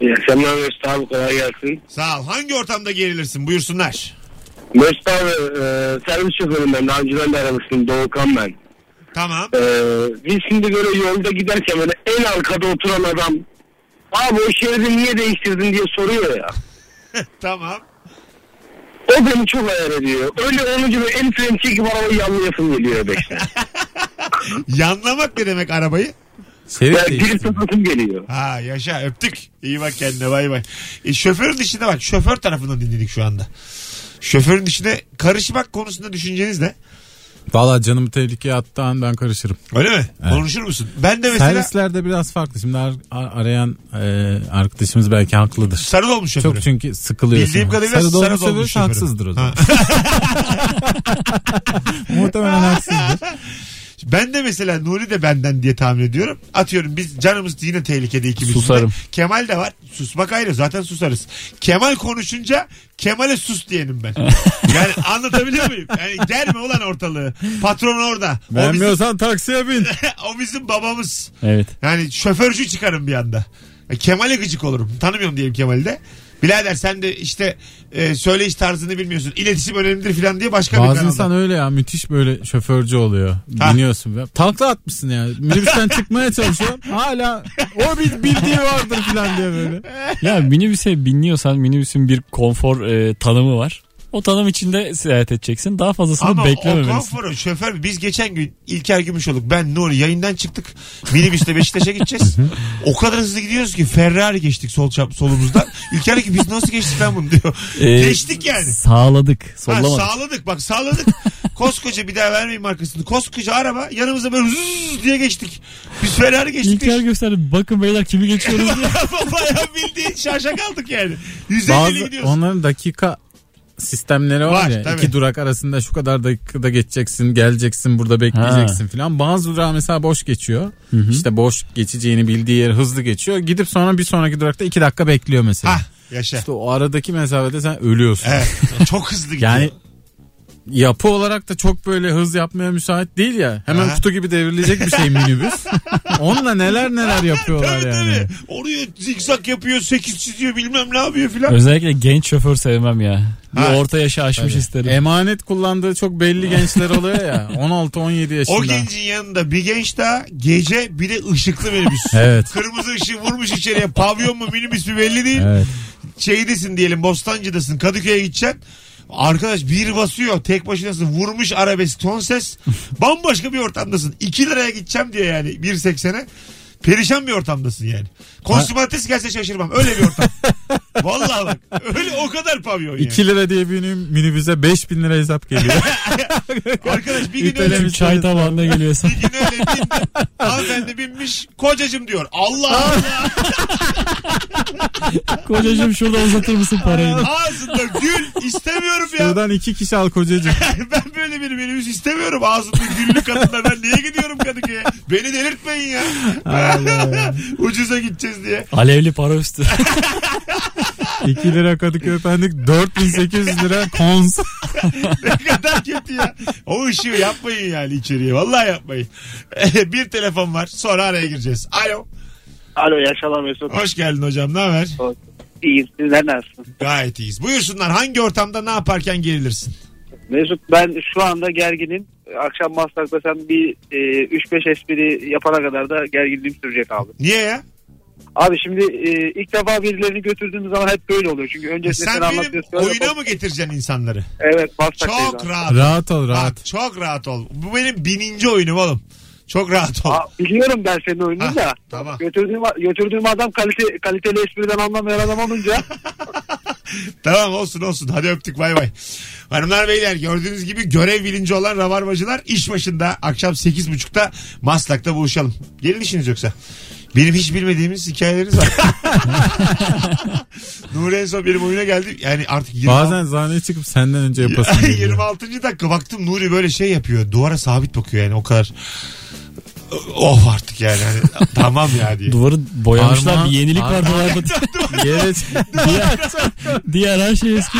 İyi akşamlar Mesut abi kolay gelsin.
Sağ ol. Hangi ortamda gerilirsin? Buyursunlar.
Mesut abi e, servis şoförüm ben. Daha önceden de aramıştım. Doğukan ben.
Tamam.
E, biz şimdi böyle yolda giderken böyle en arkada oturan adam abi o şeridi niye değiştirdin diye soruyor ya.
Tamam.
O beni çok ayar ediyor. Öyle onun gibi el freni çekip arabayı yanlayasın geliyor beşte.
Yanlamak ne demek arabayı?
yani
Şerit
girip
değiştirdin.
tutasım geliyor.
Ha yaşa öptük. İyi bak kendine bay bay. E, şoförün dışında bak şoför tarafından dinledik şu anda. Şoförün dışında karışmak konusunda düşünceniz ne?
Valla canımı tehlikeye attı an ben karışırım.
Öyle mi? Konuşur musun? Ben de mesela
Servislerde biraz farklı. Şimdi ar- ar- arayan e, arkadaşımız belki haklıdır.
sarı olmuş şoförü.
Çok çünkü sıkılıyorsun.
Bildiğim kadarıyla
Sarı
sarı dolmuş
dolmuş şoförü
şoförü.
haksızdır o zaman. Muhtemelen haksızdır.
Ben de mesela Nuri de benden diye tahmin ediyorum. Atıyorum biz canımız yine tehlikede ikimizin de.
Susarım.
Kemal de var. Susmak ayrı zaten susarız. Kemal konuşunca Kemal'e sus diyelim ben. yani anlatabiliyor muyum? Yani gelme ulan ortalığı. Patron orada. O bizim,
Beğenmiyorsan taksiye bin.
o bizim babamız.
Evet.
Yani şoförcü çıkarım bir anda. E, Kemal'e gıcık olurum. Tanımıyorum diyelim Kemal'i de. Birader sen de işte e, söyleyiş tarzını bilmiyorsun. İletişim önemlidir falan diye başka bir
Bazı
kanalda.
insan öyle ya müthiş böyle şoförcü oluyor.
Ha.
Biniyorsun. Be. Takla atmışsın ya. Minibüsten çıkmaya çalışıyor. Hala o bir bildiği vardır falan diye böyle.
Ya minibüse biniyorsan minibüsün bir konfor e, tanımı var. O tanım içinde seyahat edeceksin. Daha fazlasını
Ama o
beklememelisin.
konforu şoför biz geçen gün İlker Gümüşoluk ben Nuri yayından çıktık minibüsle Beşiktaş'a gideceğiz. o kadar hızlı gidiyoruz ki Ferrari geçtik sol çap solumuzdan. İlker diyor ki biz nasıl geçtik lan bunu diyor.
Ee,
Geçtik yani.
Sağladık.
Ha,
Sollamadık.
sağladık bak sağladık. Koskoca bir daha vermeyeyim markasını. Koskoca araba yanımıza böyle zzzz diye geçtik. Biz Ferrari geçtik.
İlker gösterdi. Bakın beyler kimi geçiyoruz diye.
Bayağı bildiğin şaşa kaldık yani. 150
Bazı
gidiyoruz.
onların dakika sistemleri var,
Var,
ya.
tabii.
İki durak arasında şu kadar dakikada geçeceksin, geleceksin, burada bekleyeceksin filan. Bazı durağı mesela boş geçiyor. İşte boş geçeceğini bildiği yer hızlı geçiyor. Gidip sonra bir sonraki durakta iki dakika bekliyor mesela.
Hah Ah, yaşa.
İşte o aradaki mesafede sen ölüyorsun.
Evet, çok hızlı gidiyor.
Yani yapı olarak da çok böyle hız yapmaya müsait değil ya. Hemen
Aha.
kutu gibi devrilecek bir şey minibüs. Onunla neler neler yapıyorlar
Tabii,
yani.
tabii. Oraya zikzak yapıyor, sekiz çiziyor bilmem ne yapıyor filan.
Özellikle genç şoför sevmem ya. Bir
Ha.
orta yaşı aşmış isterim.
Emanet kullandığı çok belli gençler oluyor ya. 16-17 yaşında.
O gencin yanında bir genç daha gece bir de ışıklı minibüs.
Evet.
Kırmızı ışığı vurmuş içeriye pavyon mu minibüs mü belli değil.
Evet.
Şeydesin diyelim Bostancı'dasın Kadıköy'e gideceksin. Arkadaş bir basıyor tek başınasın vurmuş arabesk ton ses bambaşka bir ortamdasın 2 liraya gideceğim diyor yani 1.80'e perişan bir ortamdasın yani konsumates gelse şaşırmam öyle bir ortam vallahi bak öyle o kadar pavyon yani.
2 lira diye bir minibüse 5000 lira hesap geliyor.
Arkadaş bir gün öyle
İtelemiş.
Tüm çay tabağında geliyor sana.
Bir gün öyle bindim. Hanımefendi binmiş. Kocacım diyor. Allah Allah.
Kocacığım şurada uzatır mısın parayı?
Ağzında gül istemiyorum ya.
Buradan iki kişi al kocacığım.
Ben böyle bir minibüs istemiyorum. Ağzında güllü kadınla ben niye gidiyorum Kadıköy'e? Beni delirtmeyin ya. Ucuza gideceğiz diye.
Alevli para üstü.
2 lira Kadıköy Pendik 4800 lira kons.
Ne kadar kötü ya. O ışığı yapmayın yani içeriye. Vallahi yapmayın. bir telefon var. Sonra araya gireceğiz. Alo.
Alo yaşalar Mesut.
Hoş geldin hocam. Ne haber?
İyiyim sizler nasılsınız?
Gayet iyiyiz. Buyursunlar. Hangi ortamda ne yaparken gerilirsin?
Mesut ben şu anda gerginim. Akşam Maslak'ta sen bir e, 3-5 espri yapana kadar da gerginliğim sürecek abi.
Niye ya?
Abi şimdi e, ilk defa birilerini götürdüğünüz zaman hep böyle oluyor. Çünkü
E
öncesinde
E Sen
sen
benim
anlatıyorsun.
oyuna mı getireceksin insanları?
Evet Maslak'tayız
Çok
abi.
rahat.
Rahat ol
Bak,
rahat.
çok rahat ol. Bu benim bininci oyunum oğlum. Çok rahat ol.
Aa, biliyorum ben senin
Ha,
oyununu da.
tamam.
Götürdüğüm, götürdüğüm adam kalite, kaliteli espriden anlamayan adam olunca
Tamam olsun olsun. Hadi öptük bay bay. Hanımlar beyler gördüğünüz gibi görev bilinci olan rabarbacılar iş başında akşam 8.30'da Maslak'ta buluşalım. Gelin işiniz yoksa. Benim hiç bilmediğimiz hikayeleriniz var. Nuri en son benim oyuna geldi. Yani artık 20
Bazen sahneye çıkıp senden önce yapasın geliyor.
26. dakika baktım Nuri böyle şey yapıyor. Duvara sabit bakıyor yani o kadar. Of artık yani. Hani, tamam ya diye.
Duvarı boyamışlar.
Parmağın-
bir yenilik var
Parmağın-
duvarda.
Yere-
diğer, diğer her şey eski.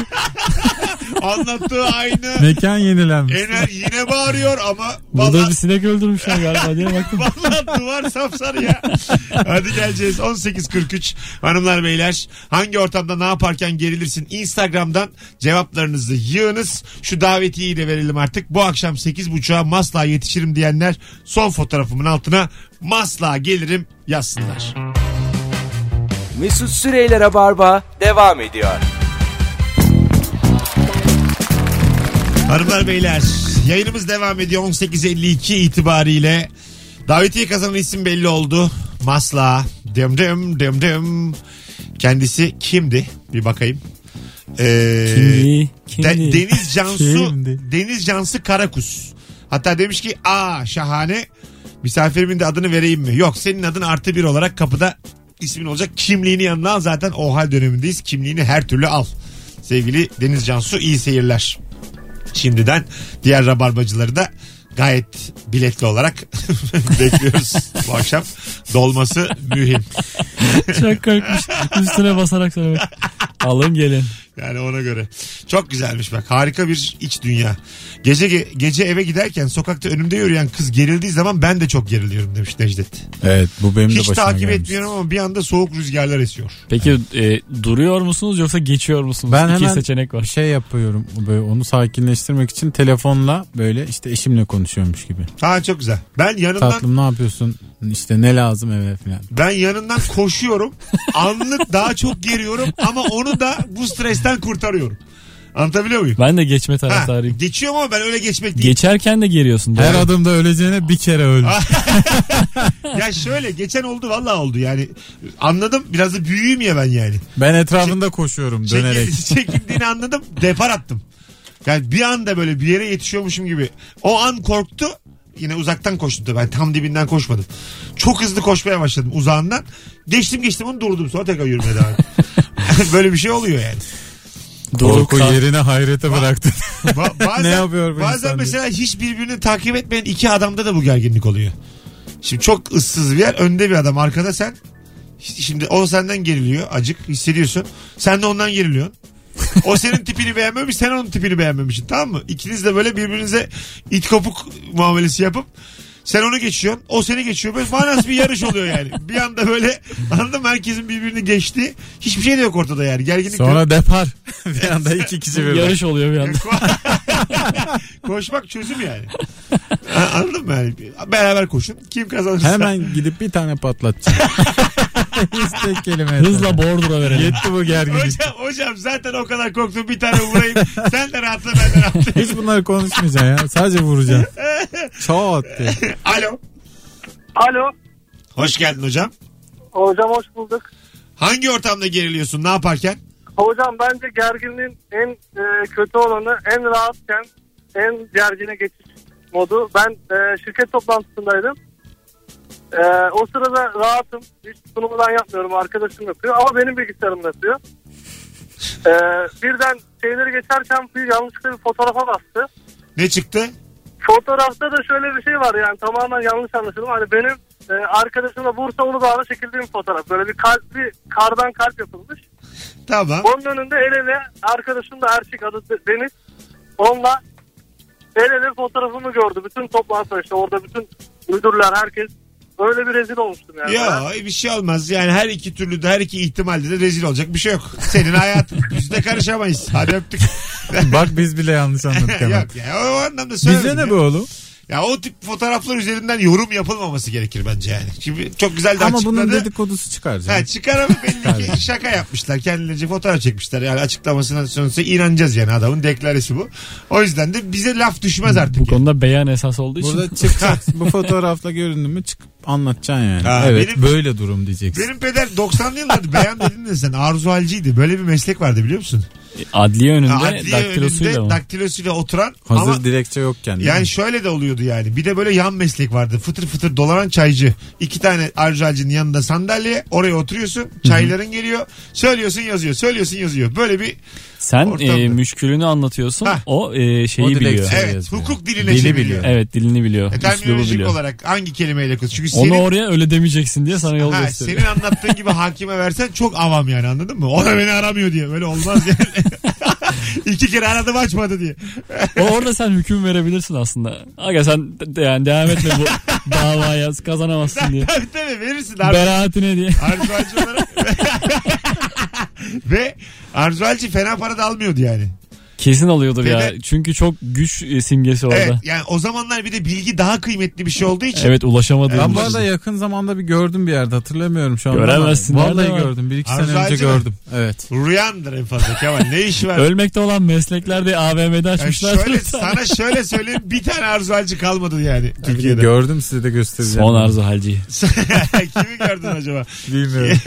Anlattığı aynı.
Mekan yenilenmiş.
Ener yine bağırıyor ama
Burada
vallahi,
bir sinek öldürmüşler galiba diye baktım.
vallahi duvar sapsarı ya. Hadi geleceğiz. 18.43 hanımlar beyler. Hangi ortamda ne yaparken gerilirsin? Instagram'dan cevaplarınızı yığınız. Şu davetiyeyi de verelim artık. Bu akşam 8.30'a masla yetişirim diyenler son fotoğrafımın altına masla gelirim yazsınlar.
Mesut Süreyler'e barba devam ediyor.
Hanımlar beyler yayınımız devam ediyor 18.52 itibariyle. Davetiye kazanan isim belli oldu. Masla. Dım dım dım dım. Kendisi kimdi? Bir bakayım. Ee,
Kimdi? Kimdi?
De- Deniz Cansu
Kimdi?
Deniz Cansu Karakus. Hatta demiş ki aa şahane misafirimin de adını vereyim mi? Yok senin adın artı bir olarak kapıda ismin olacak. Kimliğini yanına al zaten o hal dönemindeyiz. Kimliğini her türlü al. Sevgili Deniz Cansu iyi seyirler. Şimdiden diğer rabarbacıları da gayet biletli olarak bekliyoruz bu akşam. Dolması mühim.
Çok korkmuş. Üstüne basarak söylemek. Alın gelin.
Yani ona göre. Çok güzelmiş bak. Harika bir iç dünya. Gece ge- gece eve giderken sokakta önümde yürüyen kız gerildiği zaman ben de çok geriliyorum demiş Necdet.
Evet bu benim de
Hiç
başıma
takip
gelmiş.
etmiyorum ama bir anda soğuk rüzgarlar esiyor.
Peki e, duruyor musunuz yoksa geçiyor musunuz?
Ben
İki
hemen
seçenek var.
Şey yapıyorum böyle onu sakinleştirmek için telefonla böyle işte eşimle konuşuyormuş gibi.
Ha çok güzel. Ben yanından
Tatlım ne yapıyorsun? İşte ne lazım eve falan.
ben yanından koşuyorum. Anlık daha çok geriyorum ama onu da bu stresten kurtarıyorum. Anlatabiliyor muyum?
Ben de geçme
Ha,
taraftarıyım.
geçiyor mu ben öyle geçmek değil.
Geçerken de geriyorsun.
Her
doğru.
adımda öleceğine bir kere öl.
Ah. ya şöyle geçen oldu valla oldu yani. Anladım biraz da büyüğüm ya ben yani.
Ben etrafında koşuyorum dönerek.
Çekil- çekildiğini anladım. Depar attım. Yani bir anda böyle bir yere yetişiyormuşum gibi. O an korktu. Yine uzaktan koştum tabii. Ben tam dibinden koşmadım. Çok hızlı koşmaya başladım uzağından. Geçtim geçtim onu durdum. Sonra tekrar yürümeye devam ettim. böyle bir şey oluyor yani.
Doruk
Korku
Kan-
yerine hayrete
Ah.
bıraktın.
Ba- bazen,
Ne yapıyor bu
Bazen
insan
mesela hiç birbirini takip etmeyen iki adamda da bu gerginlik oluyor. Şimdi çok ıssız bir yer. Önde bir adam arkada sen. Şimdi o senden geriliyor acık hissediyorsun. Sen de ondan geriliyorsun. O senin tipini beğenmemiş sen onun tipini beğenmemişsin tamam mı? İkiniz de böyle birbirinize it kopuk muamelesi yapıp sen onu geçiyorsun o seni geçiyor böyle manasız bir yarış oluyor yani. Bir anda böyle anladın mı herkesin birbirini geçtiği hiçbir şey de yok ortada yani gerginlik yok.
Sonra depar. bir anda iki kişi birden.
Yarış oluyor bir anda.
Koşmak çözüm yani. Ha, Anladın mı yani? Beraber koşun. Kim kazanırsa.
Hemen gidip bir tane patlatacağım. Hiç tek kelime etmeden.
Hızla bordura verelim.
Yetti bu gerginlik.
Hocam, hocam zaten o kadar korktum bir tane vurayım. Sen de rahatla ben de rahatlayayım.
Hiç bunları konuşmayacaksın ya. Sadece vuracaksın. Çat diye.
Alo.
Alo.
Hoş geldin hocam.
Hocam hoş bulduk.
Hangi ortamda geriliyorsun ne yaparken?
Hocam bence gerginliğin en e, kötü olanı en rahatken en gergine geçiş modu. Ben e, şirket toplantısındaydım. E, o sırada rahatım. Hiç sunumu ben yapmıyorum. Arkadaşım yapıyor. Ama benim bilgisayarım yapıyor. E, birden şeyleri geçerken bir yanlışlıkla bir fotoğrafa bastı.
Ne çıktı?
Fotoğrafta da şöyle bir şey var yani tamamen yanlış anlaşılma. Hani benim e, arkadaşımla Bursa Uludağ'da çekildiğim fotoğraf. Böyle bir kalpli kardan kalp yapılmış.
Tamam.
Onun önünde el ele arkadaşım da erkek adı De- Deniz. Onunla el ele fotoğrafımı gördü. Bütün toplantı işte orada bütün müdürler herkes. Öyle bir rezil olmuştum yani.
Ya bir şey olmaz yani her iki türlü de her iki ihtimalde de rezil olacak bir şey yok. Senin hayatın yüzde karışamayız. Hadi öptük.
Bak biz bile yanlış anladık hemen.
yok ya o anlamda söylemedim.
Bize
ya.
ne bu oğlum?
Ya o tip fotoğraflar üzerinden yorum yapılmaması gerekir bence yani. Şimdi çok güzel de
Ama
açıkladı.
bunun dedikodusu çıkar canım.
Ha, çıkar ama belli ki şaka yapmışlar. Kendilerince fotoğraf çekmişler. Yani açıklamasına sonuçta inanacağız yani adamın deklaresi bu. O yüzden de bize laf düşmez artık.
Bu
yani.
konuda beyan esas olduğu için.
Burada çıkacaksın. bu fotoğrafla göründün mü çıkıp anlatacaksın yani.
Ha,
evet
benim-
böyle durum diyeceksin.
Benim peder 90'lı yıllarda beyan dedin de sen arzu halciydi. Böyle bir meslek vardı biliyor musun?
Adliye önünde
Ha, adliye
daktilosuyla
önünde
mı?
daktilosuyla oturan
Hazır
ama
dilekçe yokken. değil mi?
yani şöyle de oluyordu yani. Bir de böyle yan meslek vardı. Fıtır fıtır dolanan çaycı. İki tane arzu halcinin yanında sandalye. Oraya oturuyorsun. Çayların geliyor. Söylüyorsun yazıyor. Söylüyorsun yazıyor. Böyle bir
Sen
Ortamda.
e, müşkülünü anlatıyorsun.
Ha.
O e, şeyi
O direkt-
biliyor.
Şey
evet
yazıyor.
hukuk diline
Dili
çeviriyor.
biliyor.
Evet dilini biliyor.
E,
Üslubu
terminolojik
biliyor.
olarak hangi kelimeyle kullan? Çünkü
Onu
senin,
oraya öyle demeyeceksin diye sana yol
ha,
gösteriyor.
senin anlattığın gibi hakime versen çok avam yani anladın mı? O da beni aramıyor diye. Böyle olmaz yani. İki kere aradım açmadı diye.
O orada sen hüküm verebilirsin aslında. Aga sen de- yani devam etme bu davaya kazanamazsın diye.
tabii tabii verirsin abi.
Beraatine diye.
Arzu Alcı olarak. Ve Arzu Alcı fena para da almıyordu yani.
Kesin alıyordur ya.
Bebe-
Çünkü çok güç e, simgesi orada.
Evet
Evet,
yani o zamanlar bir de bilgi daha kıymetli bir şey olduğu için. E,
ulaşamadı.
Ben bu arada yakın zamanda bir gördüm bir yerde hatırlamıyorum şu an.
Göremezsin,
Vallahi
nerede var?
gördüm. Bir iki
Arzu
sene önce
Aycı mı?
gördüm. Evet.
Rüyandır en fazla Kemal. Ne işi var?
Ölmekte olan mesleklerde AVM'de
Yani
açmışlar.
şöyle, sana şöyle söyleyeyim bir tane Arzu Alcı kalmadı yani Türkiye'de.
Gördüm size de göstereceğim.
Son arzu halci.
Kimi gördün acaba?
Bilmiyorum.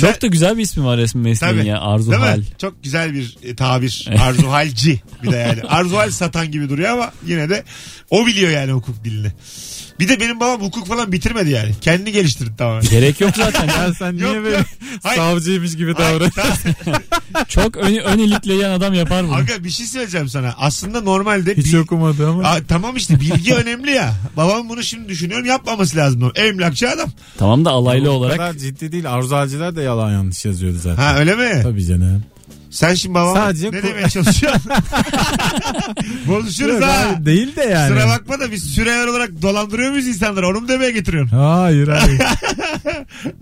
Çok da güzel bir ismi var resmi mesleğin
Tabii.
ya. Arzu
Değil
hal.
mi? Çok güzel bir e, tabir. Arzuhalci bir de yani. Arzuhal satan gibi duruyor ama yine de o biliyor yani hukuk dilini. Bir de benim babam hukuk falan bitirmedi yani. Kendini geliştirdi tamamen.
Gerek yok zaten.
ya sen niye
Yok,
böyle
yok. Hayır.
savcıymış gibi
Ay,
davran?
ta-
Çok ön, ön ilikleyen adam yapar bunu.
Aga bir şey söyleyeceğim sana. Aslında normalde
Hiç
bil-
okumadı ama.
Aa, tamam işte bilgi önemli ya. Babam bunu şimdi düşünüyorum yapmaması lazım. Emlakçı adam.
Tamam da alaylı
Bu
olarak.
kadar ciddi değil. Arzacılar da yalan yanlış yazıyordu zaten.
Ha öyle mi?
Tabii canım.
Sen şimdi babam
Sadece
ne
ku-
demeye çalışıyorsun? Bozuşuruz
Yok,
ha.
hayır, değil de yani.
Sıra bakma da biz süreler olarak dolandırıyor muyuz insanları? Onu mu demeye getiriyorsun?
Hayır hayır.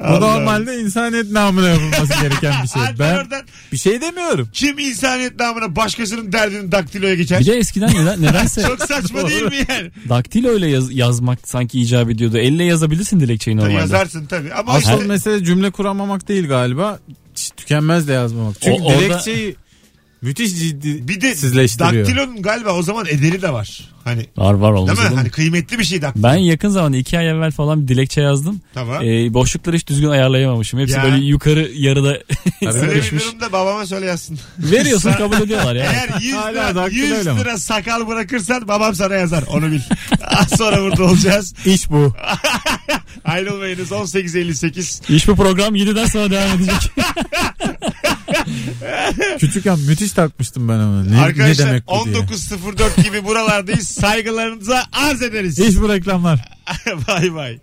Allah.
Bu normalde insaniyet namına yapılması gereken bir şey.
Hadi
ben
oradan
bir şey demiyorum.
kim insaniyet namına başkasının derdini daktiloya geçer?
Bir de eskiden neden,
şey-
nedense
Çok saçma değil mi yani?
daktilo ile yaz- yazmak sanki icap ediyordu. Elle yazabilirsin dilekçeyi
Tabii
normalde.
yazarsın tabii. Ama
Asıl
işte
mesele cümle kuramamak değil galiba. Hiç Tükenmez de yazmamak. Çünkü
O- orada-
dilekçeyi Müthiş ciddi
Bir de
sizleştiriyor.
daktilonun galiba o zaman ederi de var. Hani
Var var olmaz
değil mi?
olur mu?
Hani kıymetli bir şey
E,
daktilo.
Ben yakın zamanda iki ay evvel falan bir dilekçe yazdım.
Tamam.
Ee, boşlukları hiç düzgün ayarlayamamışım. Hepsi
Ya.
böyle yukarı yarıda
Öyle bir
sıkışmış.
durumda babama söyle yazsın.
Veriyorsun kabul ediyorlar ya.
Eğer 100
Hala
lira,
daktilo
100
öyle mi?
lira sakal bırakırsan babam sana yazar. Onu bil. Az sonra burada olacağız.
İş bu.
Ayrılmayınız 18.58.
İş bu program 7'den sonra devam edecek.
Küçükken müthiş takmıştım ben onu. Ne, ne
Arkadaşlar
demek bu diye.
19.04 gibi buralardayız. Saygılarınıza arz ederiz.
İş bu reklamlar.
bay bay.